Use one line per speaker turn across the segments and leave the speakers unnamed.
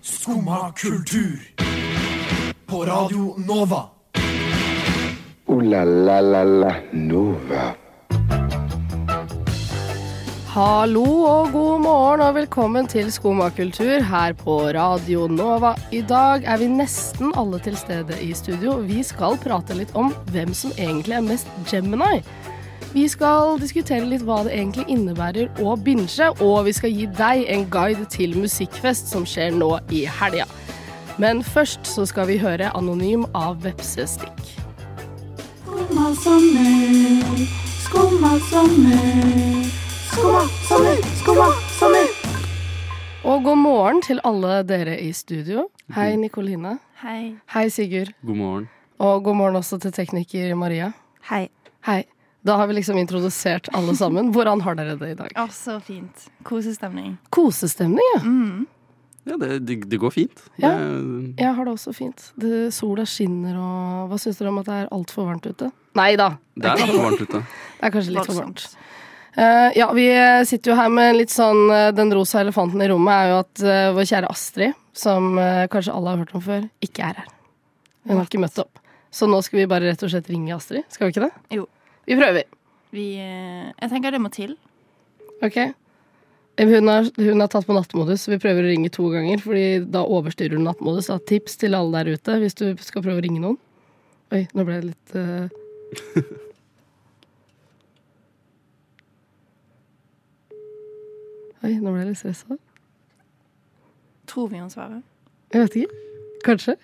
Skumma kultur. På Radio Nova.
Ooh la la la la Nova.
Hallo og god morgen og velkommen til Skomakultur her på Radio Nova. I dag er vi nesten alle til stede i studio. Vi skal prate litt om hvem som egentlig er mest Gemini. Vi skal diskutere litt hva det egentlig innebærer å binge, og vi skal gi deg en guide til musikkfest som skjer nå i helga. Men først så skal vi høre Anonym av Vepsestikk.
Skumma sommer, skumma sommer, skumma sommer, skumma sommer.
Og god morgen til alle dere i studio. Hei, Nikoline.
Hei.
Hei, Sigurd.
God morgen.
Og god morgen også til tekniker Maria.
Hei.
Hei. Da har vi liksom introdusert alle sammen. Hvordan har dere det i dag?
Å, så fint. Kosestemning.
Kosestemning, ja.
Mm.
Ja, det, det, det går fint.
Ja.
Jeg,
Jeg har det også fint. Det, sola skinner og Hva syns dere om at det er altfor varmt ute? Nei da.
det er litt varmt ute.
Det er kanskje litt for varmt.
Voldsomt.
Eh, ja, vi eh, sitter jo her med litt sånn eh, Den rosa elefanten i rommet er jo at eh, vår kjære Astrid, som eh, kanskje alle har hørt om før, ikke er her. Hun har ikke møtt opp. Så nå skal vi bare rett og slett ringe Astrid. Skal vi ikke det?
Jo.
Vi prøver.
Vi, eh, jeg tenker det må til.
Ok. Hun har, hun har tatt på nattmodus, så vi prøver å ringe to ganger. Fordi da overstyrer hun nattmodus. Da tips til alle der ute hvis du skal prøve å ringe noen. Oi, nå ble det litt eh, Oi, nå ble jeg litt stressa.
Tror vi hun svarer.
Jeg vet ikke. Kanskje.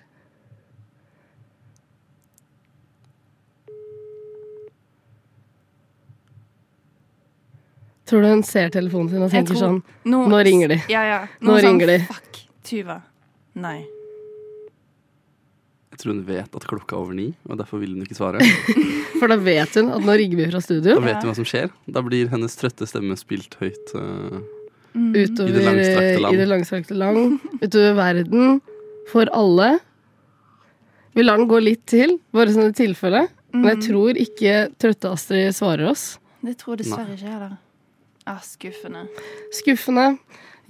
Tror du hun ser telefonen sin og
Jeg
tenker
tror-
sånn Nå ringer de.
Ja, ja.
Nå
er sånn,
ringer de.
Fuck, Tuva. Nei.
Jeg tror hun vet at klokka er over ni, og derfor vil hun ikke svare.
For da vet hun at nå ringer vi fra
Da
studio
vet hun hva som skjer. Da blir hennes trøtte stemme spilt høyt. eh,
utover eh,
I det langstrakte land.
i det langstrakte land, utover verden, for alle. Vi lar den gå litt til, bare sånn i tilfelle. Men jeg tror ikke trøtte Astrid svarer oss.
Det tror jeg dessverre ikke jeg heller. Ah, skuffende.
Skuffende.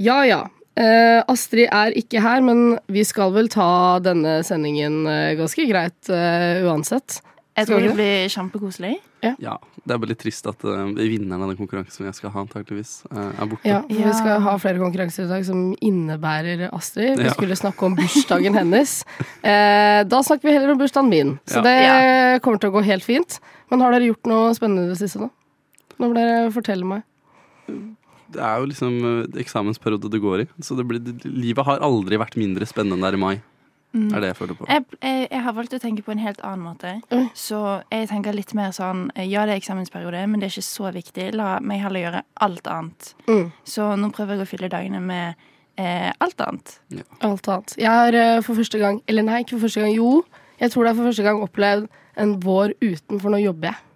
Ja ja. Eh, Astrid er ikke her, men vi skal vel ta denne sendingen eh, ganske greit eh, uansett. Skal
Jeg tror
vi?
det blir kjempekoselig.
ja, det er bare litt trist at eh, vinneren av den konkurransen jeg skal ha, antakeligvis, eh, er borte.
Ja, for
Ja.
Vi skal ha flere konkurranser i dag som innebærer Astrid. Vi
Ja.
skulle snakke om bursdagen hennes. Eh, da snakker vi heller om bursdagen min, så
Ja.
det kommer til å gå helt fint. Men har dere gjort noe spennende i det siste, da? Nå må dere fortelle meg.
Det er jo liksom eh, eksamensperiode det går i, så det blir, livet har aldri vært mindre spennende enn det er i mai.
Mm.
Er det jeg føler på.
Jeg, jeg, jeg har valgt å tenke på en helt annen måte.
Oi.
Så jeg tenker litt mer sånn Ja, det er eksamensperiode, men det er ikke så viktig. La meg heller gjøre alt annet.
Mm.
Så nå prøver jeg å fylle dagene med eh, alt annet.
Alt annet. Jeg har eh, for første gang, eller nei, ikke for første gang, jo. Jeg tror det er for første gang opplevd en vår uten, for nå jobber jeg.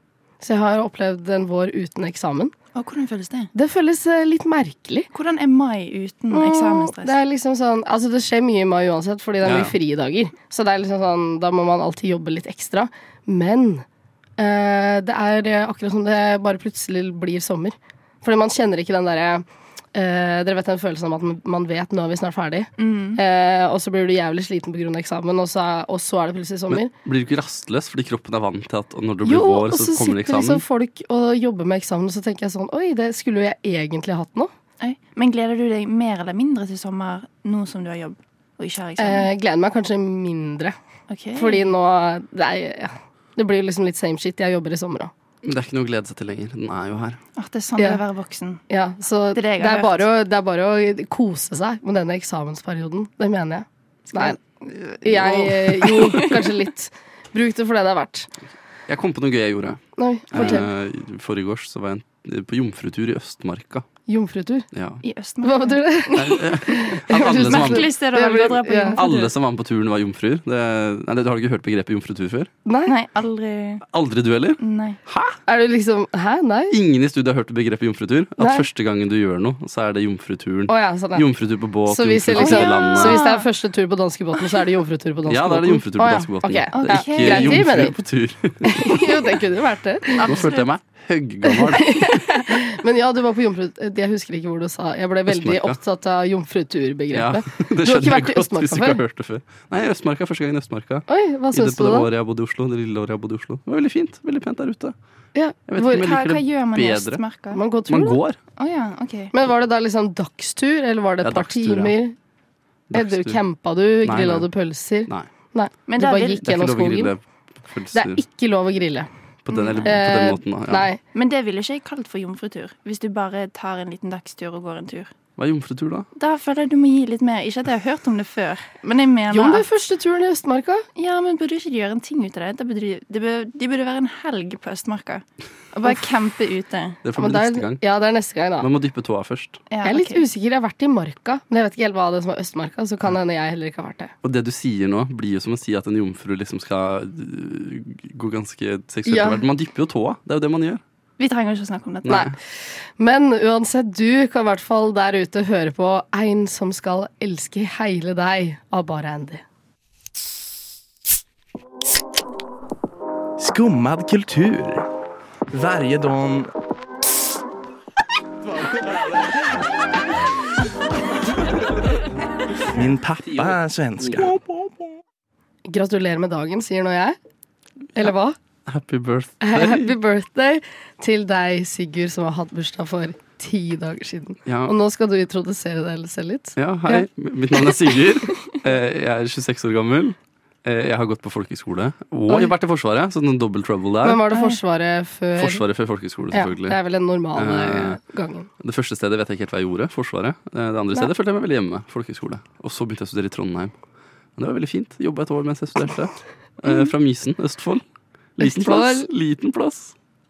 Så jeg har opplevd en vår uten eksamen.
Og hvordan føles det?
Det føles eh, litt merkelig.
Hvordan er mai uten
Det
eksamensstress?
er liksom sånn, altså det skjer mye i mai uansett, fordi det er
Ja.
mye fridager. Så det er liksom sånn, da må man alltid jobbe litt ekstra. Men eh, det er eh, akkurat som det bare plutselig blir sommer. Fordi man kjenner ikke den derre eh, Dere vet den følelsen om at man vet nå er vi snart ferdig. Eh, og så blir du jævlig sliten pga. eksamen, og så, er- og så er det plutselig sommer.
Men blir du ikke rastløs fordi kroppen er vant til at når det blir
Jo,
vår,
og
så
så
kommer
sitter
det eksamen?
liksom folk og jobber med eksamen, og så tenker jeg sånn Oi, det skulle jo jeg egentlig hatt nå.
Oi. Men gleder du deg mer eller mindre til sommer nå som du har jobb og ikke har eksamen?
Eh, gleder meg kanskje mindre.
Ok.
Fordi nå det, er, ja. det blir jo liksom litt same shit. Jeg jobber i sommer òg.
Men Det er ikke noe å glede seg til lenger. Den er jo her.
Åh, det er sånn det er å være voksen.
Ja, så det
Det er det
er,
jeg har
bare å, det er bare å kose seg med denne eksamensperioden. Det mener jeg. Nei, jeg eh, Jo, kanskje litt. Bruk det for det det er verdt.
Jeg kom på noe gøy jeg gjorde.
Nei, fortell.
Eh, i Forrige års så var jeg en- eh, på jomfrutur i Østmarka.
Jomfrutur.
Ja.
I
Hva
Østmarka.
betyr det?
At alle, som var,
Merkelig sted å
Jeg
velge
blir-
å dra på
ja.
jomfrutur.
alle som var med på turen, var jomfruer. Det, nei, det, har du ikke hørt begrepet jomfrutur før?
Nei?
Nei, aldri
Aldri du heller?
Nei.
Er du liksom Hæ, nei?
Ingen i studiet har hørt begrepet jomfrutur. At
Nei.
første gangen du gjør noe, så er det jomfruturen.
Å ja, sånn ja.
Jomfrutur på båt,
Så hvis, jeg
jomfrutur
liksom,
på landet.
så hvis det er første tur på danskebåten, så er det jomfrutur på danskebåten?
ja, da er det jomfrutur på
Å ja,
danskebåten.
ok.
Det er
Ok.
ikke
Greit, vi mener
jomfruer på tur.
jo, det kunne vært det.
Nå følte jeg meg høggammel.
Men ja, du var på jomfru... eh, Jeg husker ikke hvor du sa Jeg ble veldig
Østmarka.
opptatt av
Ja,
jomfruturbegrepet.
det
Du har ikke
skjønner jeg
vært i
godt hvis du
Østmarka
ikke har
før?
hørt det før. Nei, Østmarka er første gangen i Østmarka.
Oi, hva
I det,
syns
på
du,
det
da?
året jeg bodde i Oslo. Det lille året jeg bodde i Oslo. Det var veldig fint. Veldig pent der ute.
Ja, hvor,
vet ikke om jeg
Hva,
liker
hva
det
gjør man i
bedre.
Østmarka? Å
man går tur,
Man
da?
går.
ja, OK.
Men var det da liksom dagstur, eller var det et
Ja,
par
dagstur, ja.
timer? Edru,
Dagstur.
campa du?
Nei,
Grilla
nei.
du pølser?
Nei,
Nei.
Men
Du
der
bare
vil-
gikk
det er
gjennom
ikke lov å
skogen? Det
grille
er
pølser
ikke lov å grille.
på den, eller på
Eh,
den måten. da, Ja.
Nei.
Men det ville ikke jeg kalt for jomfrutur, hvis du bare tar en liten dagstur og går en tur.
Hva er jomfrutur, da?
Da føler jeg du må gi litt mer. Ikke at jeg har hørt om det før, men jeg mener
Jo, men det er
at
første turen i Østmarka.
Ja, men burde ikke de gjøre en ting ut av det? Da burde de, de, burde, de burde være en helg på Østmarka og bare campe ute.
Det
Ja,
får
men
bli
det er-
neste gang.
Ja, det er neste gang, da.
Man må dyppe tåa først.
Ja,
Jeg er litt
ok.
usikker. Jeg har vært i Marka, men jeg vet ikke helt hva det er som er Østmarka. Så kan hende jeg heller ikke har vært det.
Og det du sier nå, blir jo som å si at en jomfru liksom skal øh, gå ganske seksuelt
Ja.
til verden. Man dypper jo tåa. Det er jo det man gjør.
Vi trenger ikke å snakke om dette.
Nei. Men uansett, du kan i hvert fall der ute høre på Ein som skal elske heile deg av bare Andy.
Skummad kultur. Varje dag... Min pappa är svenska.
Gratulerer med dagen, sier nå jeg. Eller hva?
Happy birthday.
Happy birthday til deg, Sigurd, som har hatt bursdag for ti dager siden.
Ja.
Og nå skal du introdusere deg selv litt.
Ja, hei. Mitt navn er Sigurd. Eh, Jeg er 26 år gammel. Eh, Jeg har gått på folkehøyskole. Og jeg har vært i Forsvaret, så noen double trouble
Men
der.
var det Forsvaret før?
Forsvaret før folkehøyskole,
Ja, det
selvfølgelig.
er vel den normale
Eh,
gangen.
Det første stedet vet jeg ikke helt hva jeg gjorde. Forsvaret. Eh, Det andre stedet følte jeg meg veldig hjemme. Folkehøyskole. Og så begynte jeg å studere i Trondheim. Men det var veldig fint. Jobba et år mens jeg studerte.
Mm.
Eh, Fra Mysen, Østfold. Liten plass.
Østfold.
Liten plass.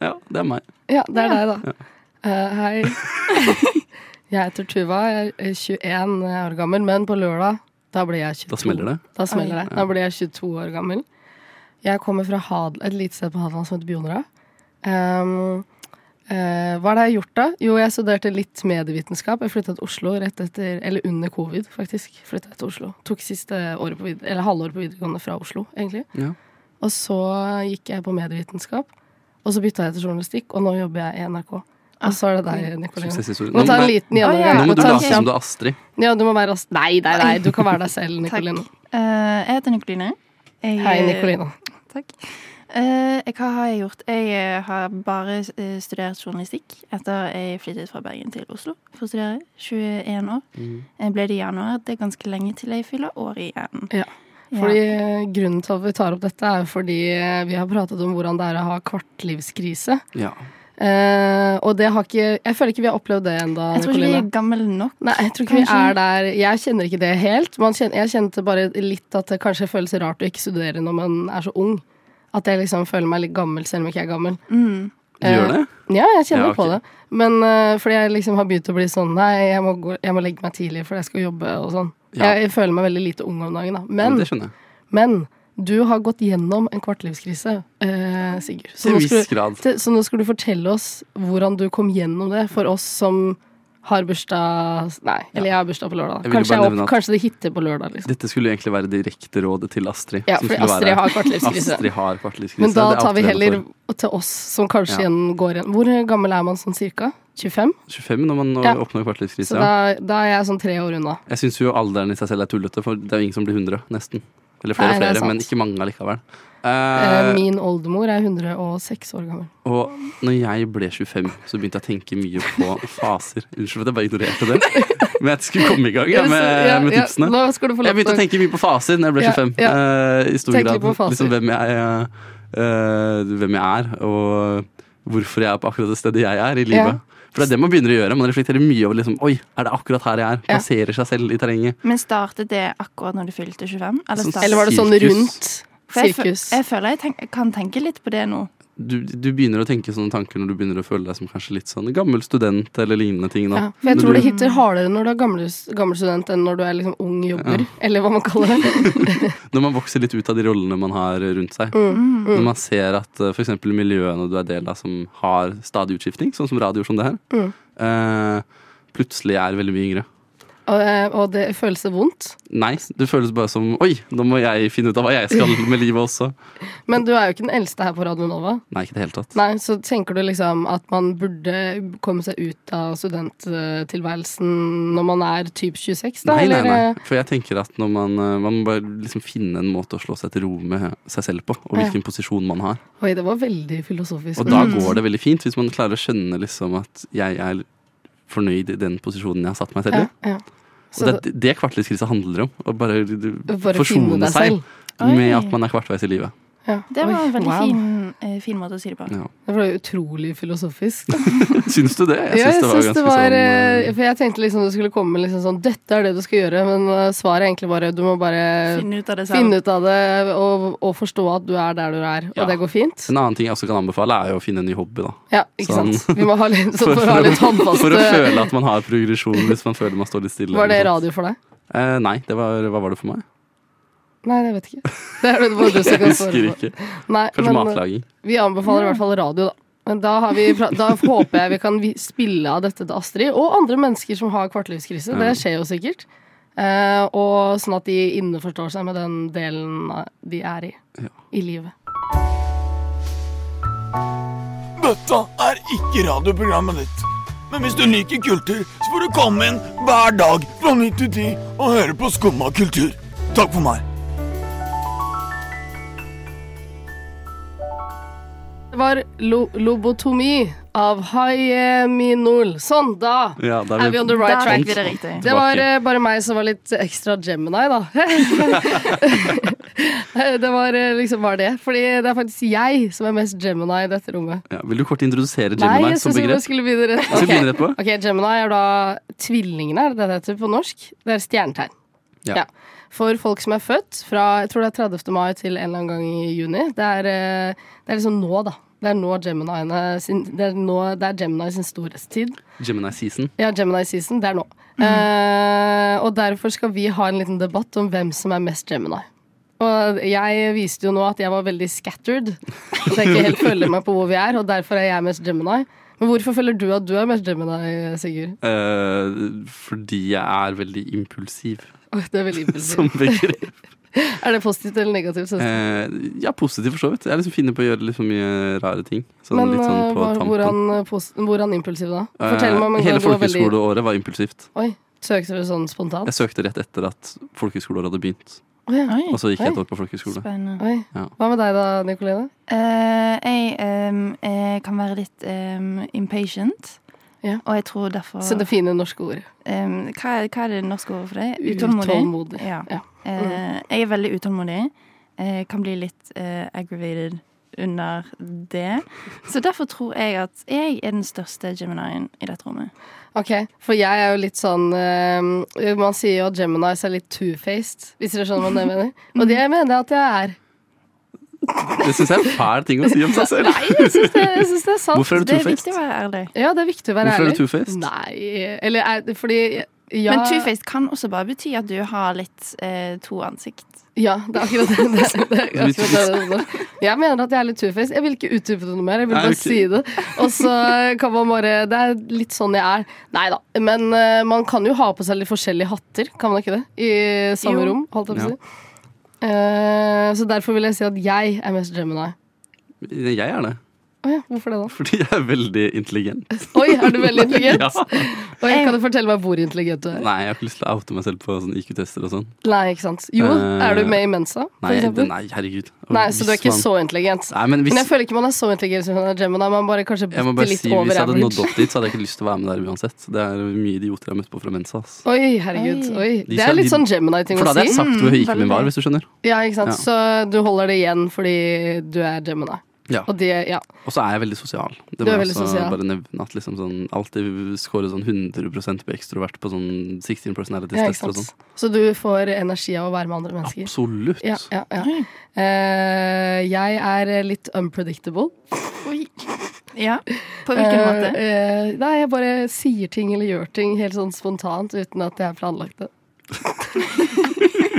Ja, det er meg.
Ja, det er deg, da. Eh, hei. jeg heter Tuva. Jeg er 21 år gammel, men på lørdag da blir jeg 22.
Da smeller det.
Da smeller det. Da blir jeg 22 år gammel. Jeg kommer fra Hadel, et lite sted på Hadeland som heter Bionera. Um, eh, hva er det jeg har gjort, da? Jo, jeg studerte litt medievitenskap. Jeg flytta til Oslo rett etter Eller under covid, faktisk. Flyttet jeg til Oslo. Tok siste året på vid eller halvåret på videregående fra Oslo, egentlig.
Ja.
Og så gikk jeg på medievitenskap, og så bytta jeg til journalistikk, og nå jobber jeg i NRK. Og så er det deg, Nicolene.
Suksesshistorie.
Må ta en
nei,
liten gjennomgang.
Å, ja.
nå må
Må
du
ta en
late
kjapp-
som du er Astrid.
Ja, du må være rask. Nei, nei, nei, du kan være deg selv, Nicoline.
Eh, jeg heter Nikoline. Jeg,
Hei, Nicoline.
Takk. Eh, hva har jeg gjort? Jeg eh, har bare eh, studert journalistikk etter jeg flyttet fra Bergen til Oslo for å studere. 21 år.
Mm.
Jeg ble det i januar. Det er ganske lenge til jeg fyller året igjen.
Ja. Fordi eh, Grunnen til at vi tar opp dette, er jo fordi eh, vi har pratet om hvordan det er å ha kvartlivskrise.
Ja.
Eh, og det har ikke Jeg føler ikke vi har opplevd det ennå,
Jeg tror ikke vi
Nicoline.
er gamle nok.
Nei, jeg tror ikke vi
Kanskje.
er der. Jeg kjenner ikke det helt. Man kjen- jeg kjente bare litt at det kanskje føles rart å ikke studere når man er så ung. At jeg liksom føler meg litt gammel selv om jeg ikke er gammel.
Du
Eh,
gjør det?
Ja, jeg kjenner
Ja, ok.
på det. Men eh, fordi jeg liksom har begynt å bli sånn Nei, jeg må, gå, jeg må legge meg tidlig fordi jeg skal jobbe og sånn.
Ja.
Jeg, jeg føler meg veldig lite ung om dagen, da.
Ja,
Men,
det skjønner jeg.
men du har gått gjennom en kvartlivskrise, eh, Sigurd. Så
Til en
nå, skal
viss
du,
grad.
til, så nå skal du fortelle oss hvordan du kom gjennom det for oss som har bursdag Nei, eller jeg har bursdag på lørdag.
Jeg
da.
ville
Kanskje, jeg
bare
opp,
nevne at-
kanskje det hitter på lørdag, liksom.
Dette skulle jo egentlig være direkte rådet til Astrid.
Ja,
som
fordi
skulle
Astrid
være-
har kvartlivskrise.
Astrid har kvartlivskrise.
Men da
Det er
tar vi
alltid
heller
det man
til oss som kanskje
Ja.
igjen går igjen. Hvor gammel er man sånn cirka? 25?
får. 25 når man nå
Ja.
oppnår kvartlivskrise.
Så
Ja.
da, da er jeg sånn tre år unna.
Jeg syns jo alderen i seg selv er tullete, for det er jo ingen som blir 100, nesten. Eller flere
Nei,
og
det er
flere,
sant.
men ikke mange allikevel.
Eh,
Eh,
Min oldemor er 106 år gammel.
og når jeg ble 25, så begynte jeg å tenke mye på faser. Unnskyld for at jeg bare ignorerte det, men jeg skulle komme i gang ja, med, med tipsene.
nå skal du få lov
Jeg begynte å tenke mye på faser når jeg ble
Ja,
25.
ja.
eh, I stor
Tenk litt
grad.
på faser.
Liksom hvem jeg, eh, eh, hvem jeg er, og hvorfor jeg er på akkurat det stedet jeg er i livet. For det er det man begynner å gjøre. Man reflekterer mye over liksom, Oi, er det akkurat her jeg er.
Ja.
Plasserer seg selv i terrenget.
Men startet det akkurat når du fylte 25? Eller,
Sånn
startet-
Eller var det sånn
Sirkus.
rundt?
For jeg fø-
Sirkus.
Jeg føler jeg tenk, kan tenke litt på det nå.
Du, du begynner å tenke sånne tanker når du begynner å føle deg som kanskje litt sånn gammel student eller lignende ting. Da.
Ja, for jeg
Når
tror
du,
det hitter hardere når du er gammel, gammel student enn når du er liksom ung jobber, eller hva man kaller det.
Når man vokser litt ut av de rollene man har rundt seg.
Mm,
Når man ser at eh, for eksempel miljøene du er del av som har
Mm.
stadig utskifting, sånn som radio som det her, eh, plutselig er veldig mye yngre.
Og, eh, og det føles det vondt.
Nei, det føles bare som Oi, nå må jeg finne ut av hva jeg skal med livet også.
Men du er jo ikke den eldste her på Radio Nova.
Nei, ikke i det hele tatt.
Nei, Så tenker du liksom at man burde komme seg ut av studenttilværelsen når man er typ 26, da?
Nei, nei,
eller,
nei.
eh,
For jeg tenker at når man, eh, man må bare liksom finne en måte å slå seg til ro med seg selv på, og hvilken posisjon man har.
Oi, det var veldig filosofisk.
Og da går det veldig fint, hvis man klarer å skjønne liksom at jeg er fornøyd i den posisjonen jeg har satt meg selv i.
ja, ja. Så
Og det er det kvartlivskrisa handler om. Å bare,
Bare finne
forsone
deg
seg
selv.
med
Oi.
at man er kvartveis i livet.
ja.
Det var
Oi,
en veldig
wow.
fin, eh, fin måte å si det på.
Ja.
Det var jo utrolig filosofisk.
Syns du det? sånn,
Ja, jeg syns det var eh,
ganske
For jeg tenkte liksom det skulle komme liksom sånn Dette er det du skal gjøre, men eh, svaret er egentlig bare du må bare
Finne ut av det selv.
finne ut av det og, og forstå at du er der du er, og
Ja.
det går fint.
sånn En annen ting jeg også kan anbefale, er jo å finne en ny hobby, da.
Ja, ikke
Sånn.
sant. Vi må ha litt, så
For-
for, å ha
for å-
litt håndfaste
For å føle at man har progresjon, hvis man føler man står litt sånn. stille.
Var det
eller noe
radio
sånt.
for deg?
Eh, nei, det var, hva var det for meg?
Nei, det vet jeg ikke. Det er det bare du som
Jeg
kan svare
husker
på.
ikke.
Nei,
Kanskje
men, eh,
matlaging.
Vi anbefaler i hvert fall radio, da. Men da, har vi, pra- da håper jeg vi kan vi- spille av dette til Astrid og andre mennesker som har kvartlivskrise.
Ja.
Det skjer jo sikkert. Eh, og sånn at de innforstår seg med den delen av- de er i
Ja.
i livet.
Dette er ikke radioprogrammet ditt. Men hvis du liker kultur, så får du komme inn hver dag fra 9 til 10 og høre på Skumma kultur. Takk for meg.
Det var lo lobotomi av Hayeminol. Sånn, da
Ja, da
er vi on the right
Der
track.
fikk vi det riktig.
Det var eh, bare meg som var litt ekstra Gemini, da. det var eh, liksom bare det. Fordi det er faktisk jeg som er mest Gemini i dette rommet.
ja, Vil du kort introdusere
Nei,
Gemini
jeg
som
synes vi bare
begrep?
skulle begynne rett
Skal vi begynne rett på?
Ok, Gemini er da tvillingene, er det det det heter på norsk? Det er stjernetegn.
Ja.
For folk som er født fra jeg tror det er 30. mai til en eller annen gang i juni. Det er, eh, det er liksom nå, da. Det er nå Geminiene sin, det er nå, det er Gemini sin storhetstid.
Gemini season.
Ja, Gemini season, det er nå. Eh, og derfor skal vi ha en liten debatt om hvem som er mest Gemini. Og jeg viste jo nå at jeg var veldig scattered, så jeg ikke helt følger meg på hvor vi er, og derfor er jeg mest Gemini. Men hvorfor føler du at du er mest Gemini, Sigurd?
eh, fordi jeg er veldig impulsiv
Oi, det er veldig impulsivt.
som begrep.
Er det positivt eller negativt? synes du?
Eh, ja, positiv for så vidt. Jeg liksom finner på å gjøre litt for mye rare ting. Sånn,
Men
litt sånn
eh,
på
hva-
tampen.
hvordan, eh, pos- hvordan impulsiv da? Fortell
Eh,
meg om en gang
Hele
du var veldig
folkehøyskoleåret var impulsivt.
Oi, søkte du sånn spontant?
Jeg søkte rett etter at folkehøyskoleåret hadde begynt.
Å ja.
Oi,
Og så gikk jeg et
Oi.
år på folkehøyskole.
spennende.
Oi.
Ja.
Hva med deg da, Nikoline?
Eh, jeg ehm, eh, kan være litt ehm, impatient.
Ja.
Og jeg tror derfor
Så det fine norske ordet.
ehm, hva, er, hva er det norske ordet for det?
Utålmodig.
Ja.
Ja. Mm.
Eh, jeg er veldig utålmodig. Eh, kan bli litt eh, aggravated under det. Så derfor tror jeg at jeg er den største Geminien i dette rommet.
Ok, for jeg er jo litt sånn eh, Man sier jo at Geminis er litt two-faced, hvis dere skjønner hva jeg mener.
Mm.
Og det mener jeg at jeg er.
Det syns jeg er en fæl ting å si om seg selv.
Nei, jeg syns det, jeg synes det er sant.
Hvorfor er du
Det er viktig å
two-faced?
være ærlig.
Ja, det er viktig å være
Hvorfor er
ærlig.
du two-faced?
Nei, eller er det fordi ja,
Men two-faced kan også bare bety at du har litt eh, to ansikt.
Ja, det er akkurat det. det, er- det, er
Litt
akkurat det. Jeg mener at jeg er litt two-faced. Jeg vil ikke utdype det noe mer. Jeg vil
Nei,
bare
ok.
si det. Og så kan man bare Det er litt sånn jeg er. Nei da. Men eh, man kan jo ha på seg litt forskjellige hatter, kan man ikke det? I samme
Jo.
rom, holdt jeg på å si. Eh, så derfor vil jeg si at jeg er mest Gemini.
Jeg er det.
Å ja, hvorfor det da?
Fordi jeg er veldig intelligent.
Oi, er du veldig intelligent? Oi,
Ja.
kan du fortelle meg hvor intelligent du er?
Nei, jeg har ikke lyst til å oute meg selv på sånn IQ-tester og sånn.
Nei, ikke sant. Jo,
Eh,
er du med i Mensa? for
Nei, det,
eksempel?
nei, herregud. Og
Nei, så du er
hvis
ikke
man-
så intelligent?
Nei, men hvis,
Men jeg føler ikke man er så intelligent som man er Gemini. Man bare kanskje
jeg må
bitte
bare
litt
si, hvis
over
jeg hadde nådd
average.
opp dit, så hadde jeg ikke lyst til å være med der uansett. Det er mye idioter jeg har møtt på fra Mensa. ass.
Oi, herregud.
Oi.
Oi.
De
Det
skal-
er litt
de-
sånn Gemini-ting å
For da hadde jeg
si. Mm,
sagt hvor høyhyggelig min var,
veldig.
hvis du skjønner.
Ja, ikke sant?
Ja.
Så du holder det igjen fordi du er Gemini.
Ja.
Og det, ja.
Og så er jeg veldig sosial. Det
Du
må
er
jeg
veldig
også
sosial.
bare nevne at liksom sånn alltid scorer sånn 100 på ekstrovert på sånn 16 personalities
ja ikke
tester og sånn.
sant? Så du får energi av å være med andre mennesker.
Absolutt.
Ja, ja, ja. Eh, jeg er litt unpredictable.
Oi. Ja. På hvilken
Eh,
måte?
eh, nei, jeg bare sier ting eller gjør ting helt sånn spontant uten at jeg har planlagt det.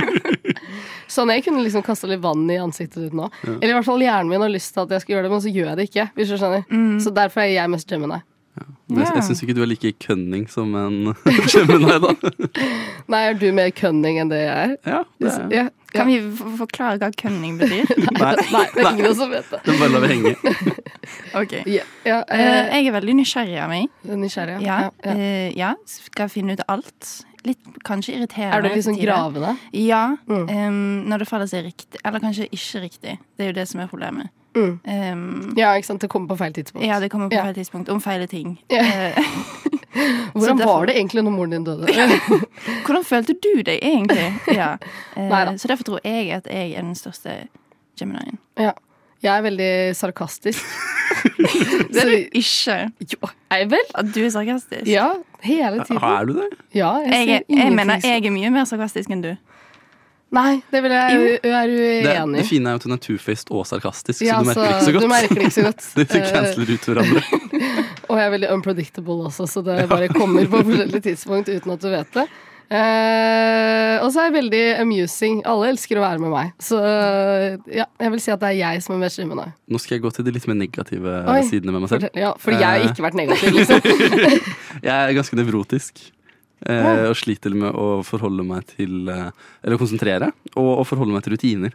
sånn, jeg kunne liksom kasta litt vann i ansiktet ditt nå.
Mm.
Eller i hvert fall hjernen min har lyst til at jeg skal gjøre det, men så gjør jeg det ikke. Hvis du skjønner. Så derfor er jeg mest Gemini.
Men jeg, jeg syns ikke du er like cunning som en Gemini, da.
Nei, er du mer cunning enn det jeg er?
Ja, det er.
Ja.
Kan vi f- forklare hva kønning betyr?
Nei,
Nei, det er ingen som vet det.
den bare lar vi henge.
Ok.
Ja, ja,
Eh,
eh,
jeg er veldig nysgjerrig av meg.
nysgjerrig.
Ja,
Ja. Ja, ja.
eh, ja. Skal finne ut alt. Litt kanskje irriterende.
Er du litt sånn
til tider.
gravende?
Ja.
Mm.
em, når det faller seg riktig. Eller kanskje ikke riktig. Det er jo det som er problemet.
Mm.
Em,
Ja, ikke sant. Det kommer på feil tidspunkt.
ja, det kommer på
Ja.
feil tidspunkt. Om feil ting.
Ja.
Eh, så
Hvordan
derfor-
var det egentlig når moren din døde?
Hvordan følte du deg egentlig? Ja. Eh,
Neida.
så derfor tror jeg at jeg er den største Geminien.
Ja. Jeg er veldig sarkastisk.
Det er du ikke.
Jo, er jeg vel?
At du er sarkastisk.
Ja, hele tiden.
Ah, Er du det?
Ja, jeg,
Jeg, er-
sier
jeg
ingenting
mener
som-
jeg er mye mer sarkastisk enn du.
Nei, det vil jeg, jeg er
Det,
uenig
det
i.
fine er jo at hun er two-faced og sarkastisk,
Ja,
så du
så
merker det ikke så
du
godt.
merker det ikke så godt.
De canceler ut hverandre.
Eh, og jeg er veldig unpredictable også, så det bare kommer på forskjellige tidspunkt uten at du vet det. Eh, og så er jeg veldig amusing. Alle elsker å være med meg. Så eh, ja, jeg vil si at det er jeg som er mest skimmende.
Nå skal jeg gå til de litt mer negative
Oi.
sidene med meg selv.
Ja, for jeg har
Eh.
ikke vært negativ, liksom.
Jeg er ganske nevrotisk. Eh, og sliter med å forholde meg til eh, Eller å konsentrere. Og å forholde meg til rutiner.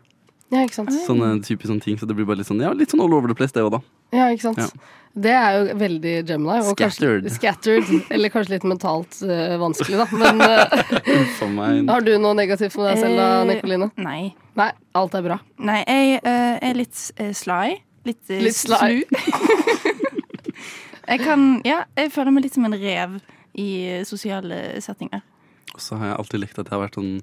Ja, ikke
Ah.
sant.
Sånne typiske sånne ting. Så det blir bare litt sånn, ja, litt sånn all over the place, det òg, da.
Ja, ikke sant?
Ja.
Det er jo veldig Gemini. Og
Scattered.
Kanskje, scattered. Eller kanskje litt mentalt eh, vanskelig, da. Men eh,
For meg.
har du noe negativt med deg selv da,
Eh,
Nikoline?
Nei.
Nei, alt er bra.
Nei, jeg eh, er litt eh, sly. Litt, eh,
Litt sly.
snu. jeg kan Ja, jeg føler meg litt som en rev i eh, sosiale settinger.
Og så har jeg alltid lekt at jeg har vært sånn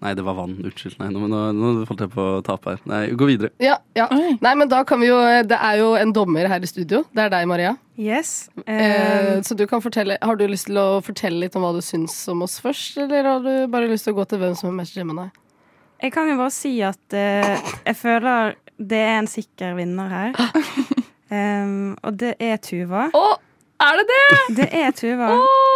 Nei, det var vann. Unnskyld. Nei, nå, nå, nå holdt jeg på å tape her. Nei, gå videre.
Ja, ja.
Oi.
Nei, men da kan vi jo eh, Det er jo en dommer her i studio. Det er deg, Maria.
Yes.
Eh,
Eh,
så du kan fortelle Har du lyst til å fortelle litt om hva du syns om oss først, eller har du bare lyst til å gå til hvem som er mest Gemini?
jeg kan jo bare si at eh, jeg føler det er en sikker vinner her. Em, og det er Tuva.
Å, er det det?!
Det er Tuva.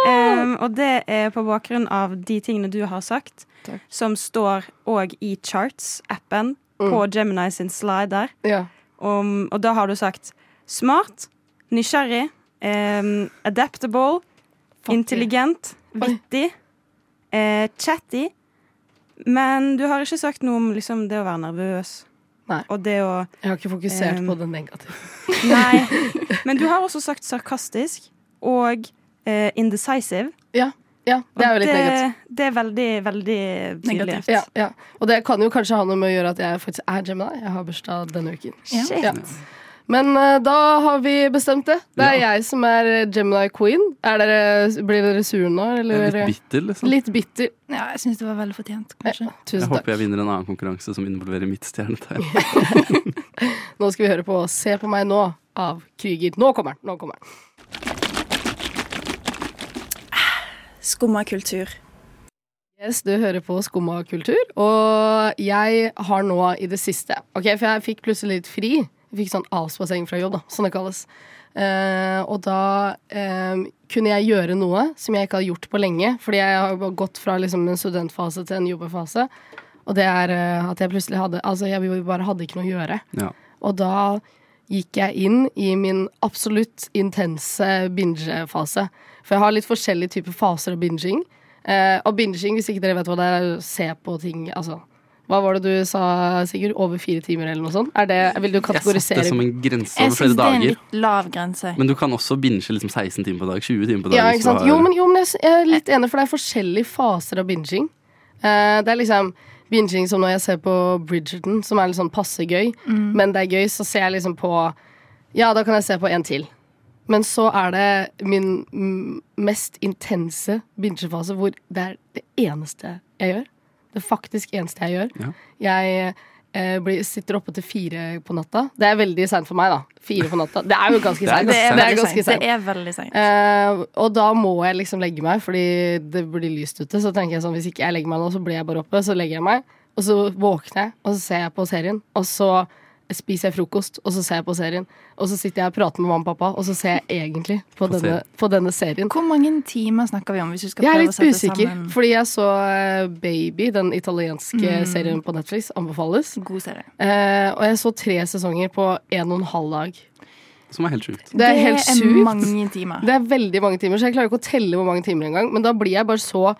Em, og det er på bakgrunn av de tingene du har sagt,
Takk.
som står òg i Charts-appen på Gemini sin slider.
Ja.
Om, og da har du sagt smart, nysgjerrig, em, adaptable, intelligent, vittig, eh, chatty. Men du har ikke sagt noe om liksom, det å være nervøs.
Nei.
Og det å
Jeg har ikke fokusert
Em.
på det negative.
Nei. Men du har også sagt sarkastisk og eh, indecisive.
Ja,
Og
det er jo litt negativt.
Det er veldig, veldig tydelig.
Negativt.
Ja, ja. Og det kan jo kanskje ha noe med å gjøre at jeg faktisk er Gemini. Jeg har bursdag denne uken.
Shit.
Ja. Men eh, da har vi bestemt det. Det er
Ja.
jeg som er eh, Gemini queen. Er dere, blir dere sure nå?
Jeg
Eller?
er litt bitter, liksom.
Litt bitter.
Ja, jeg syns det var veldig fortjent,
Eh,
kanskje.
Jeg
Tusen takk.
håper jeg vinner en annen konkurranse som involverer mitt stjernetegn.
Nå skal vi høre på Se på meg nå av Krüger. Nå kommer den! Nå kommer den.
Skumma kultur.
Yes, du hører på Skumma kultur, og jeg har nå i det siste Ok, For jeg fikk plutselig litt fri. Jeg fikk sånn avspasering fra jobb, da, som det kalles. Eh, og da eh, kunne jeg gjøre noe som jeg ikke har gjort på lenge, fordi jeg har bare gått fra liksom, en studentfase til en jobbefase. Og det er eh, at jeg plutselig hadde Altså, jeg bare hadde ikke noe å gjøre.
Ja.
Og da gikk jeg inn i min absolutt intense binge-fase. For jeg har litt forskjellige typer faser av binging. Eh, og binging, hvis ikke dere vet hva det er, se på ting Altså, hva var det du sa, Sigurd? Over fire timer, eller noe sånt? Er det, vil du
Jeg satte
kategorisere
som en grense
Jeg
over
syns
flere
det er en
dager.
litt lav grense.
Men du kan også binge liksom 16 timer på dag, 20 timer på dag.
Ja, ikke
hvis du
sant?
har-
Jo, men, jo, men jeg s- jeg er litt enig, for det er forskjellige faser av binging. Eh, det er liksom binging som når jeg ser på Bridgerton, som er litt sånn passe gøy. Men det er gøy, så ser jeg liksom på Ja, da kan jeg se på en til. Men så er det min mm, mest intense bingefase, hvor det er det eneste jeg gjør. Det faktisk eneste jeg gjør. Jeg eh, blir, sitter oppe til fire på natta. Det er veldig seint for meg, da. Fire på natta. Det er jo ganske
Det
seint.
er ganske sent.
Det er ganske
sent.
seint.
Det er veldig seint.
Eh, og da må jeg liksom legge meg, fordi det blir lyst ute. Så tenker jeg sånn, hvis ikke jeg legger meg nå, så blir jeg bare oppe. Så legger jeg meg, og så våkner jeg, og så ser jeg på serien. Og så spiser jeg frokost, og så ser jeg på serien. Og så sitter jeg og prater med mamma og pappa, og så ser jeg egentlig på, denne,
serien.
på denne serien.
Hvor mange timer snakker vi om? hvis du skal
Jeg er
prøve å
litt
sette
usikker,
sammen Mm.
fordi jeg så eh, Baby, den italienske serien på Netflix, anbefales.
God serie.
Eh, og jeg så tre sesonger på en og en halv dag.
som er helt sjukt.
Det er helt sykt.
mange timer.
Det er veldig mange timer, så jeg klarer ikke å telle hvor mange timer engang. Men da blir jeg bare så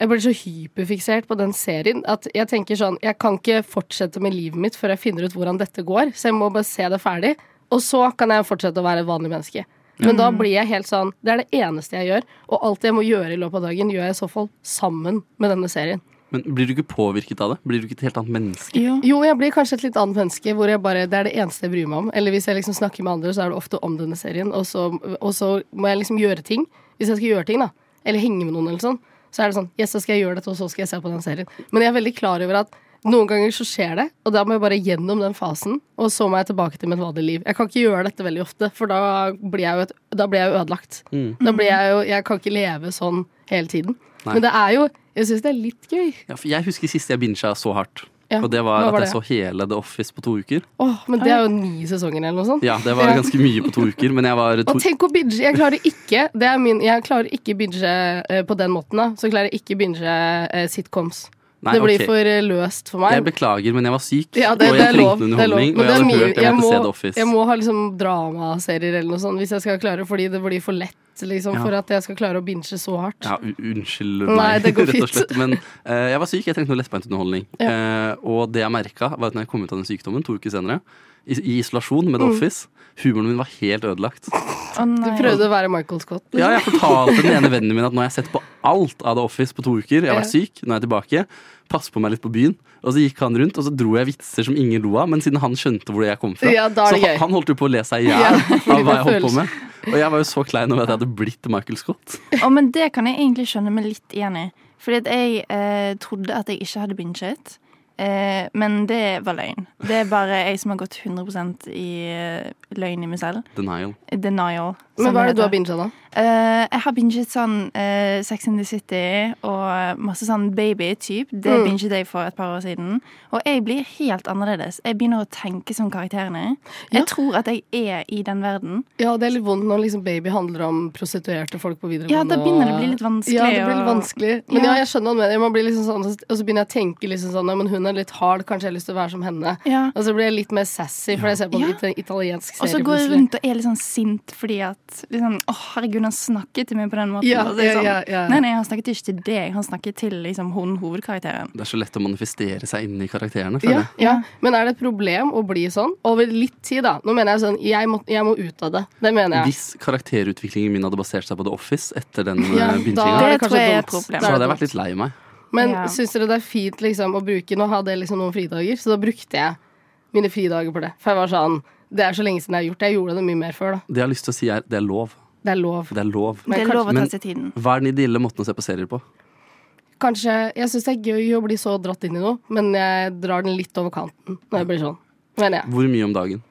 jeg blir så hyperfiksert på den serien at jeg tenker sånn Jeg kan ikke fortsette med livet mitt før jeg finner ut hvordan dette går, så jeg må bare se det ferdig. Og så kan jeg fortsette å være et vanlig menneske. Men da blir jeg helt sånn Det er det eneste jeg gjør. Og alt jeg må gjøre i løpet av dagen, gjør jeg i så fall sammen med denne serien.
Men blir du ikke påvirket av det? Blir du ikke et helt annet menneske?
Jo.
Jo, jeg blir kanskje et litt annet menneske hvor jeg bare, det er det eneste jeg bryr meg om. Eller hvis jeg liksom snakker med andre, så er det ofte om denne serien. Og så, og så må jeg liksom gjøre ting. Hvis jeg skal gjøre ting, da. Eller henge med noen, eller sånn. Så er det sånn Yes, så skal jeg gjøre dette, og så skal jeg se på den serien. Men jeg er veldig klar over at noen ganger så skjer det, og da må jeg bare gjennom den fasen. Og så må jeg tilbake til mitt vanlige liv. Jeg kan ikke gjøre dette veldig ofte, for da blir jeg jo, et, da blir jeg jo ødelagt.
Mm.
Da blir jeg jo Jeg kan ikke leve sånn hele tiden.
Nei.
Men det er jo Jeg syns det er litt gøy.
Ja, for jeg husker sist jeg bincha så hardt.
Ja,
og det
hva
var at
var
jeg
det?
så hele The Office på to uker.
Åh, men det er jo ni sesonger eller noe sånt.
Ja, det var
Ja.
ganske mye på to uker, men jeg var to
Og tenk å binge! Jeg klarer ikke det er min, Jeg klarer ikke binge eh, på den måten. da Så klarer jeg ikke binge eh, sitcoms.
Nei,
det blir
ok.
for eh, løst for
Jeg
meg.
beklager, men jeg var syk,
Ja, det,
og
det
jeg
er lov.
trengte
Det er lov.
underholdning.
Men
Og
det
jeg
er
hadde
mye-
hørt jeg
jeg
måtte se The
må,
Office.
jeg må ha liksom dramaserier eller noe sånt hvis jeg skal klare, fordi det blir for lett liksom,
Ja.
for at jeg skal klare å binge så hardt.
Ja, u- unnskyld meg,
Nei, det går
rett og
fint.
slett. Men eh, jeg var syk, jeg trengte noe lettbeint underholdning. Eh, og det jeg merka, var at når jeg kom ut av den sykdommen to uker senere, i, i isolasjon
Mm.
med The Office, humoren min var helt ødelagt.
Å nei.
Du prøvde å være Michael Scott.
Ja, jeg fortalte den ene vennen min at nå har jeg sett på alt av The Office på to uker. Jeg har vært syk, nå er jeg tilbake. Pass på meg litt på byen. Og så gikk han rundt, og så dro jeg vitser som ingen lo av. Men siden han skjønte hvor jeg kom fra,
Ja, da er
så
det gøy.
han holdt jo på å le seg i hjel
Ja,
av hva jeg
det
holdt på
føles.
med. Og jeg var jo så klein over at jeg hadde blitt Michael Scott.
Å, men det kan jeg egentlig skjønne meg litt igjen i. Fordi at jeg eh, trodde at jeg ikke hadde binget. Eh, men det var løgn. Det er bare jeg som har gått 100 i eh, løgn i meg selv.
Denial.
Denial.
Men hva
som
Sånn er det du
heter.
har binga da?
Eh, jeg har binget sånn eh, Sex in the City og masse sånn baby-type. Det
Mm.
binget jeg for et par år siden. Og jeg blir helt annerledes. Jeg begynner å tenke som karakterene.
Ja.
Jeg tror at jeg er i den verden.
Ja, det er litt vondt når liksom baby handler om prostituerte folk på videregående.
Ja, da begynner det å bli litt vanskelig
Ja, det blir litt
å-
vanskelig. Men ja,
Ja.
jeg skjønner hva du mener. Man blir liksom sånn, og så begynner jeg å tenke liksom sånn, ja, men hun er litt hard, kanskje jeg har lyst til å være som henne.
Ja.
Og så blir jeg litt mer sassy, for jeg ser på en
Ja.
ita- italiensk
Og så
serie
går jeg
plutselig.
rundt og er litt sånn sint fordi at liksom, Å, herregud, han snakket til meg på den måten.
Ja,
Og så er
ja,
jeg sånn,
ja, ja.
Nei, nei, han snakket ikke til deg. Han snakket til liksom, hun hovedkarakteren.
Det er så lett å manifestere seg inni karakterene,
Ja,
føler jeg.
ja. Men er det et problem å bli sånn? Over litt tid, da. Nå mener jeg sånn, jeg må, jeg må ut av det. Det mener jeg.
Hvis karakterutviklingen min hadde basert seg på The Office etter den
Ja,
ja,
da
binginga,
er
Det
det
tror
kanskje
jeg er et
dumt.
problem.
Da
eh,
er
så hadde
det
jeg
dumt.
vært litt lei meg.
Men
Ja.
syns dere det er fint liksom, å bruke Nå hadde jeg liksom noen fridager, så da brukte jeg mine fridager på det. For jeg var sånn Det er så lenge siden jeg har gjort det. Jeg gjorde det mye mer før, da.
Det jeg har lyst til å si, er det er lov.
Det er lov.
Det er lov.
Men
Det er lov å ta
Men-
seg tiden.
Hva er den ideelle måten å se på serier på?
Kanskje, Jeg syns det er gøy å bli så dratt inn i noe, men jeg drar den litt over kanten når jeg blir sånn. Mener jeg.
Hvor mye om dagen?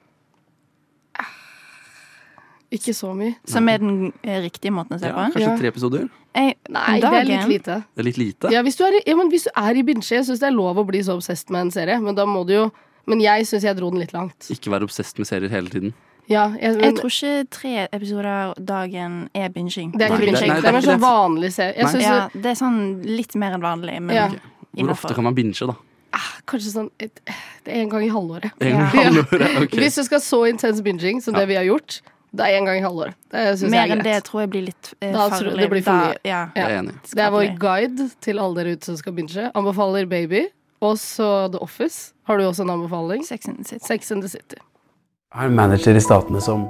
Ikke så mye.
Som er den eh, riktige måten å se
Ja,
på.
kanskje
Ja.
tre episoder?
Jeg,
Nei, det er litt lite.
Det er litt lite.
Ja, hvis du er, i- ja, men hvis du er i binge, jeg syns det er lov å bli så obsessed med en serie, men da må du jo Men jeg syns jeg dro den litt langt.
Ikke være obsesst med serier hele tiden.
Ja, jeg, men,
Jeg tror ikke tre episoder dagen er binging.
det er
Nei,
ikke
det-
binge.
nei,
Det
det
er
er
mer
ikke
sånn
det.
vanlig serie. Jeg
Nei.
synes
Ja, det er sånn litt mer enn vanlig, men
Ja.
Hvor ofte kan man binge, da?
det- kanskje sånn et, Det er en gang i halvåret.
En
Ja.
gang i halvåret? Ok.
Hvis du skal så intens binging som det vi har gjort, det er en gang i halvåret. Det syns jeg
Mer
er
enn det
greit.
tror jeg blir litt eh,
Da tror
farlig.
jeg det blir for
Da-
mye.
Ja.
Jeg er enig.
Det er vår guide til alle dere ute som skal binge. Anbefaler Baby. Og så The Office. Har du også en anbefaling?
Sex and the City.
Sex and the City.
Jeg er en manager i statene som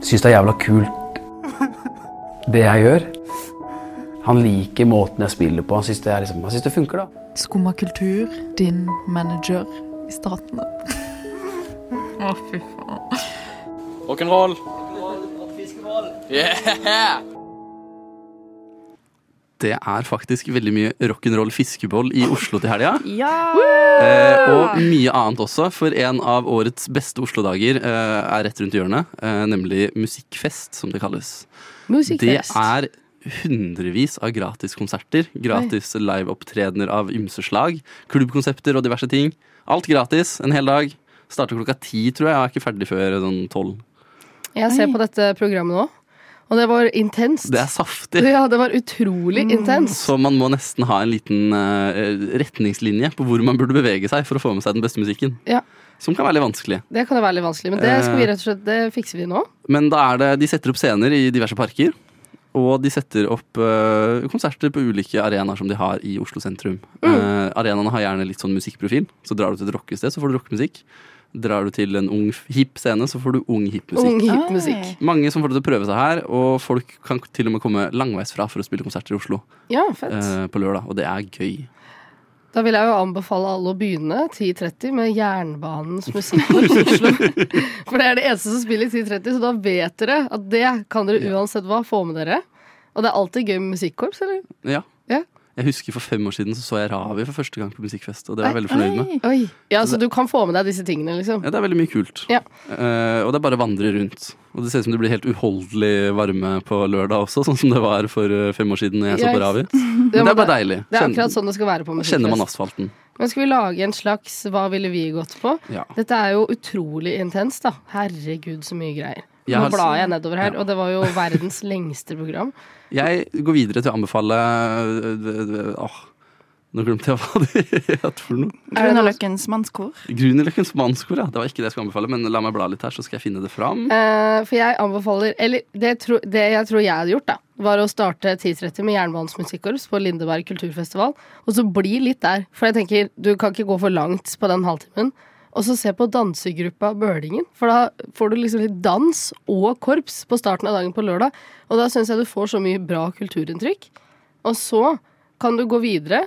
syns det er jævla kult, det jeg gjør. Han liker måten jeg spiller på. Han syns det, er liksom, han synes det funker, da.
Skumma kultur, din manager i statene. Å, fy faen.
Rock'n'roll.
Det er faktisk veldig mye rock'n'roll fiskeboll i Oslo til helga.
Ja!
Eh, og mye annet også, for en av årets beste Oslo-dager eh, er rett rundt hjørnet. Eh, nemlig Musikkfest, som det kalles.
Musikkfest.
Det er hundrevis av gratis konserter, gratis liveopptredener av ymse slag, klubbkonsepter og diverse ting. Alt gratis en hel dag. Starter klokka ti, tror jeg. Jeg er ikke ferdig før sånn tolv.
Jeg ser på dette programmet nå, og det var intenst.
Det er saftig.
ja, det var
Mm.
utrolig intenst.
Så man må nesten ha en liten eh, retningslinje på hvor man burde bevege seg for å få med seg den beste musikken.
Ja.
Som kan være litt vanskelig.
Det kan jo være litt vanskelig, men det skal
Eh.
vi rett og slett, det fikser vi nå.
Men da er det, de setter opp scener i diverse parker. Og de setter opp eh, konserter på ulike arenaer som de har i Oslo sentrum.
Mm.
Eh, arenaene har gjerne litt sånn musikkprofil. Så drar du til et rockested, så får du rockemusikk. Drar du til en ung, hip scene, så får du ung, hip musikk.
Ung, hip musikk. Oi.
Mange som får det til å prøve seg her, og folk kan til og med komme langveisfra for å spille konserter i Oslo
Ja, fett.
eh, på lørdag. Og det er gøy.
Da vil jeg jo anbefale alle å begynne 10.30 med Jernbanens musikkorps i Oslo. For det er det eneste som spiller i 10.30, så da vet dere at det kan dere uansett hva få med dere. Og det er alltid gøy med musikkorps, eller?
Ja.
Ja.
Jeg husker for fem år siden så, så jeg Ravi for første gang på musikkfest, og det er jeg veldig fornøyd med.
Oi. Ja, så du kan få med deg disse tingene, liksom.
Ja, det er veldig mye kult.
Ja.
Eh, og det er bare å vandre rundt. Og det ser ut som det blir helt uholdelig varme på lørdag også, sånn som det var for eh, fem år siden da jeg så
Ja,
på Ravi.
ikke sant.
Men det
var
er bare deilig.
Det er
Kjenn-
akkurat sånn det skal være på
Da kjenner man
musikkfest.
asfalten.
Men skal vi lage en slags Hva ville vi gått på?
Ja.
Dette er jo utrolig intenst, da. Herregud, så mye greier.
Jeg
Nå
har-
blar jeg nedover her, og det var jo verdens lengste program.
Jeg går videre til å anbefale øh, øh, Åh, nå glemte jeg hva det het for noe.
Grünerløkkens mannskor.
Grünerløkkens mannskor, ja. Det var ikke det jeg skulle anbefale, men la meg bla litt her, så skal jeg finne det fram.
Eh, for jeg anbefaler Eller det, tro, det jeg tror jeg hadde gjort, da, var å starte 10.30 med Jernbanens musikkorps på Lindeberg kulturfestival, og så bli litt der. For jeg tenker, du kan ikke gå for langt på den halvtimen. Og så se på dansegruppa Bølingen, for da får du liksom litt dans og korps på starten av dagen på lørdag. Og da syns jeg du får så mye bra kulturinntrykk. Og så kan du gå videre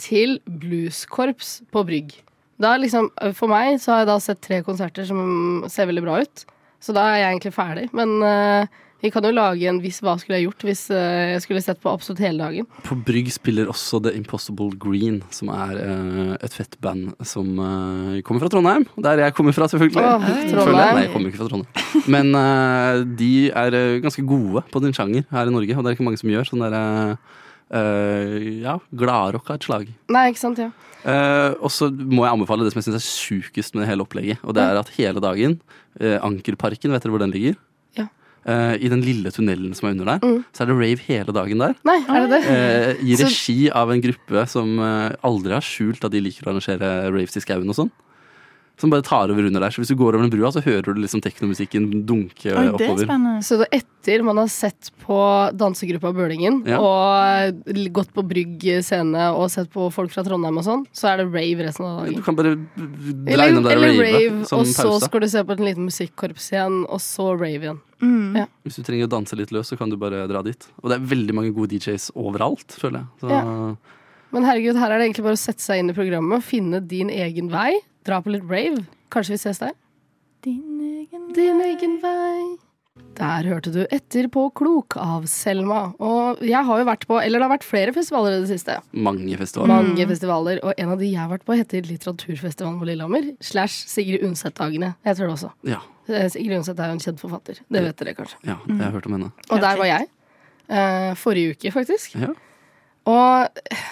til blueskorps på Brygg. Da liksom, for meg så har jeg da sett tre konserter som ser veldig bra ut. Så da er jeg egentlig ferdig. Men eh, vi kan jo lage en hvis hva skulle jeg gjort hvis eh, jeg skulle sett på absolutt hele dagen.
På Brygg spiller også The Impossible Green, som er eh, et fett band som eh, kommer fra Trondheim. Der jeg kommer fra, selvfølgelig.
Åh,
Føler jeg.
Trondheim.
Nei, jeg kommer ikke fra Trondheim. Men eh, de er eh, ganske gode på din sjanger her i Norge, og det er ikke mange som gjør sånn derre Ja, gladrock av et slag.
Nei, ikke sant? Ja.
Eh, og så må jeg anbefale det som jeg syns er sjukest med det hele opplegget. Og det er at hele dagen eh, Ankerparken, vet dere hvor den ligger?
Ja. Mm.
Eh, I den lille tunnelen som er under der, så er det rave hele dagen der.
Nei, er det det?
Eh, I
Så-
regi av en gruppe som eh, aldri har skjult at de liker å arrangere raves i skauen og sånn. Som bare tar over under der. Så hvis du går over den brua, så hører du liksom teknomusikken dunke eh, oppover.
Så da etter man har sett på dansegruppa Bølingen
Ja.
og l- gått på Brygg scene og sett på folk fra Trondheim og sånn, så er det rave resten av
Du
dagen.
kan bare
Eller,
dreie den liksom der
eller
og
rave,
rave sånn som
og så
pause.
skal du se på et lite musikkorps igjen, og så rave igjen. Ja.
Hvis du trenger å danse litt løs, så kan du bare dra dit. Og det er veldig mange gode DJs overalt, føler jeg. Så,
Ja. Men herregud, her er det egentlig bare å sette seg inn i programmet, finne din egen vei, dra på litt rave. Kanskje vi ses der? Din egen, vei. Der hørte du Etter på klok av Selma. Og jeg har jo vært på, eller det har vært flere festivaler i det siste.
Mange festivaler.
Mange festivaler, og en av de jeg har vært på heter Litteraturfestivalen på Lillehammer, slash Sigrid Undset-dagene, jeg tror det også.
Ja,
Eh, Sigrid Undset er jo en kjent forfatter, det vet dere kanskje.
ja, jeg har hørt om henne.
Og der var jeg. eh, forrige uke, faktisk.
Ja.
Og eh,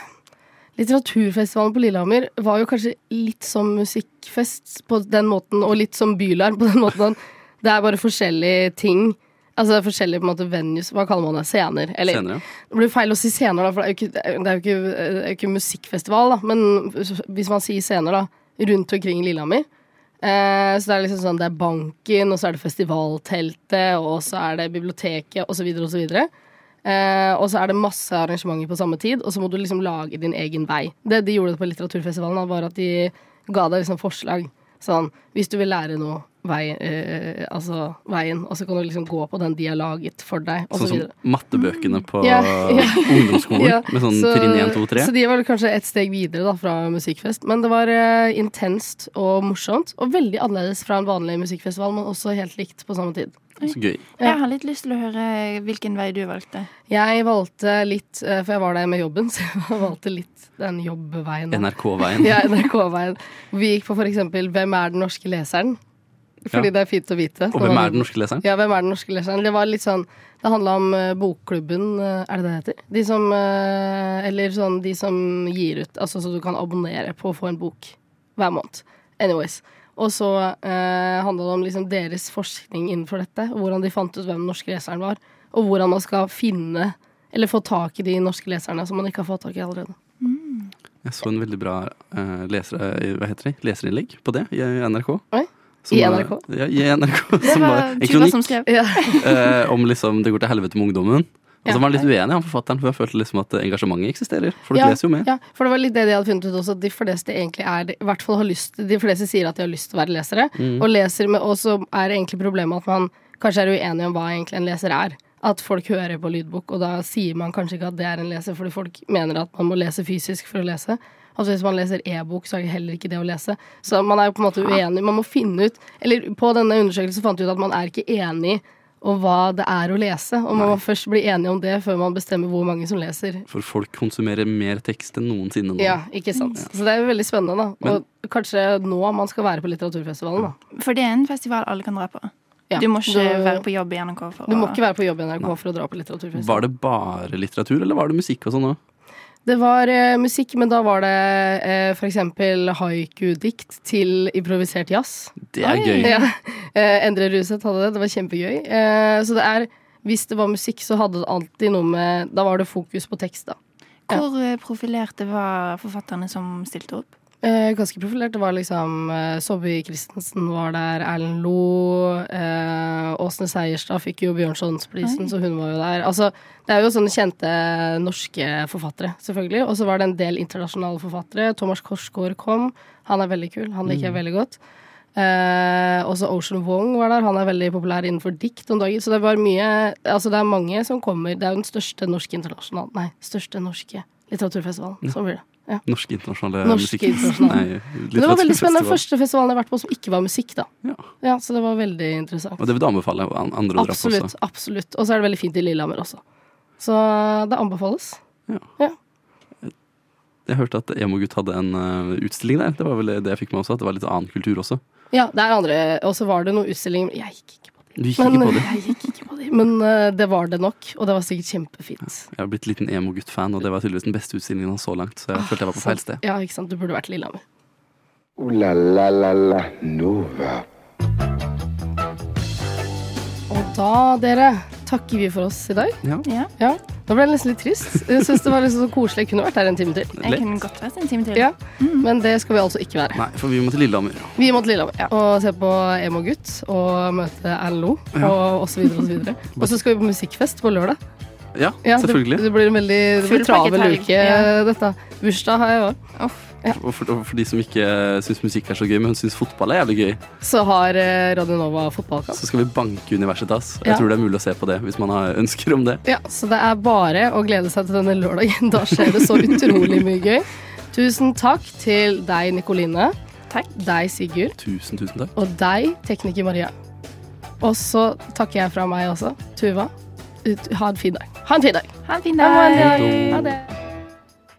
litteraturfestivalen på Lillehammer var jo kanskje litt som musikkfest på den måten, og litt som Bylarm på den måten. Det er bare forskjellige ting. Altså det er forskjellige på en måte venues, hva kaller man det? Scener? Eller,
Senere.
det blir feil å si scener, da, for det er jo ikke, det er jo ikke, det er jo ikke musikkfestival, da. Men hvis man sier scener, da, rundt omkring i Lillehammer eh, Så det er liksom sånn, det er banken, og så er det festivalteltet, og så er det biblioteket, og så videre, og så videre. Eh, og så er det masse arrangementer på samme tid, og så må du liksom lage din egen vei. Det de gjorde på litteraturfestivalen, da, var at de ga deg liksom forslag. Sånn, hvis du vil lære noe, vei, eh, altså veien, og så kan du liksom gå på den de har laget for deg, og
Sånn
så
som
videre.
mattebøkene på
Ja, ja.
ungdomsskolen,
Ja,
med sånn
så-
trinn 1, 2, 3.
Så de var vel kanskje et steg videre da, fra musikkfest. Men det var eh, intenst og morsomt, og veldig annerledes fra en vanlig musikkfestival, men også helt likt på samme tid.
Så gøy.
Jeg har litt lyst til å høre hvilken vei du valgte.
Jeg valgte litt, eh, for jeg var der med jobben, så jeg valgte litt den jobbveien. da.
NRK-veien.
Ja, NRK-veien. Vi gikk på for eksempel Hvem er den norske leseren? Fordi
Ja.
det er fint å vite.
Og hvem er den norske leseren?
Ja, hvem er den norske leseren? Det var litt sånn Det handla om eh, bokklubben, eh, er det det heter? De som eh, Eller sånn de som gir ut, altså så du kan abonnere på å få en bok hver måned. Anyways. Og så eh, handla det om liksom deres forskning innenfor dette. og Hvordan de fant ut hvem den norske leseren var. Og hvordan man skal finne, eller få tak i de norske leserne som man ikke har fått tak i allerede.
Jeg så en veldig bra eh, leser, eh, hva heter det? leserinnlegg på det i NRK.
Oi.
Som
I
var-
NRK?
Ja, i NRK.
Det
som var
var
en
Tuva som
kronikk
skrev.
eh, om liksom det går til helvete med ungdommen. Og
Ja.
så var han litt uenig, han forfatteren, for jeg følte liksom at engasjementet eksisterer. Folk
ja,
leser jo med.
Ja, for det var litt det de hadde funnet ut også, at de fleste egentlig er I hvert fall har lyst De fleste sier at de har lyst til å være lesere,
Mm.
og leser med Og så er egentlig problemet at man kanskje er uenig om hva egentlig en leser er. At folk hører på lydbok, og da sier man kanskje ikke at det er en leser, fordi folk mener at man må lese fysisk for å lese. Altså hvis man leser e-bok, så er det heller ikke det å lese. Så man er jo på en måte uenig. Man må finne ut Eller på denne undersøkelsen fant vi ut at man er ikke enig om hva det er å lese. Og man må først bli enig om det før man bestemmer hvor mange som leser
For folk konsumerer mer tekst enn noensinne nå. Mm,
ja, ikke sant. Så det er jo veldig spennende, da.
Men-
Og kanskje nå man skal være på litteraturfestivalen, da.
For det er en festival alle kan dra på.
Ja.
Du må ikke
Du-
være på jobb i NRK for
Du må
å-
ikke være på jobb i NRK for å dra på litteraturfest.
Var det bare litteratur, eller var det musikk og sånn òg?
Det var eh, musikk, men da var det eh, for eksempel haiku-dikt til improvisert jazz.
Det er gøy.
Ja. Eh, Endre Ruseth hadde det. Det var kjempegøy. Eh, så det er Hvis det var musikk, så hadde det alltid noe med Da var det fokus på tekst, da.
Hvor eh, profilerte var forfatterne som stilte opp?
Eh, ganske profilert. Det var liksom eh, Sobby Christensen var der, Erlend Lo eh, Åsne Seierstad fikk jo Bjørnsonsprisen,
Oi.
så hun var jo der. Altså, det er jo sånne kjente norske forfattere, selvfølgelig. Og så var det en del internasjonale forfattere. Thomas Korsgaard kom. Han er veldig kul. Han liker jeg
Mm.
veldig godt. Eh, også Ocean Wong var der. Han er veldig populær innenfor dikt om dagen. Så det var mye Altså, det er mange som kommer. Det er jo den største norske internasjonale Nei, største norske litteraturfestivalen.
Ja.
Sånn blir det. Ja.
Norske internasjonale
Norske
musikk...
internasjonale.
Nei,
Men det var veldig spennende.
litteraturfestival.
Den første festivalen jeg har vært på som ikke var musikk, da. Ja. Så det var veldig interessant.
Og det vil du anbefale an- andre å dra på
Absolutt.
også.
absolutt. Og så er det veldig fint i Lillehammer også. Så det anbefales.
Jeg hørte at Emogutt hadde en eh, utstilling der. Det var vel det jeg fikk med også, at det var litt annen kultur også.
Ja, det er andre Og så var det noe utstilling Jeg gikk ikke på
Du
det.
gikk ikke på det?
Jeg gikk ikke på det. Men eh, det var det nok, og det var sikkert kjempefint.
Jeg har blitt liten Emogutt-fan, og det var tydeligvis den beste utstillingen hans så langt,
Ah,
så jeg følte jeg var på feil sted.
Ja, ikke sant. Du burde vært i Lillehammer.
Ooh la la la la Nova.
Og da, dere, takker vi for oss i dag.
Ja.
Ja. Da ble jeg nesten litt trist. Jeg syns det var liksom så koselig. Jeg kunne vært her en time til.
Jeg kunne godt vært en time til.
Ja, Men det skal vi altså ikke være.
Nei, for vi må til Lillehammer.
Vi må til Lillehammer og se på Emo Gutt og møte Erlend Lo
Ja.
og osv. Og, så videre. og så skal vi på musikkfest på lørdag.
Ja,
Ja, det,
selvfølgelig.
det blir en veldig det
Full
blir travel
pakkehelg,
uke,
ja.
dette. Bursdag har jeg òg.
Og, for, og for de som ikke syns musikk er så gøy, men syns fotball er jævlig gøy,
Så har eh, Radio Nova fotballkamp.
så skal vi banke Universitas. Jeg
Ja.
tror det er mulig å se på det hvis man har ønsker om det.
Ja, så det er bare å glede seg til denne lørdagen. Da skjer det så utrolig mye gøy. Tusen takk til deg, Nikoline. Takk. Deg, Sigurd.
Tusen, tusen takk.
Og deg, tekniker Maria. Og så takker jeg fra meg også. Tuva, ut- ha en fin dag. Ha en fin dag.
Ha en fin
Ha
dag.
en fin dag. Ha det.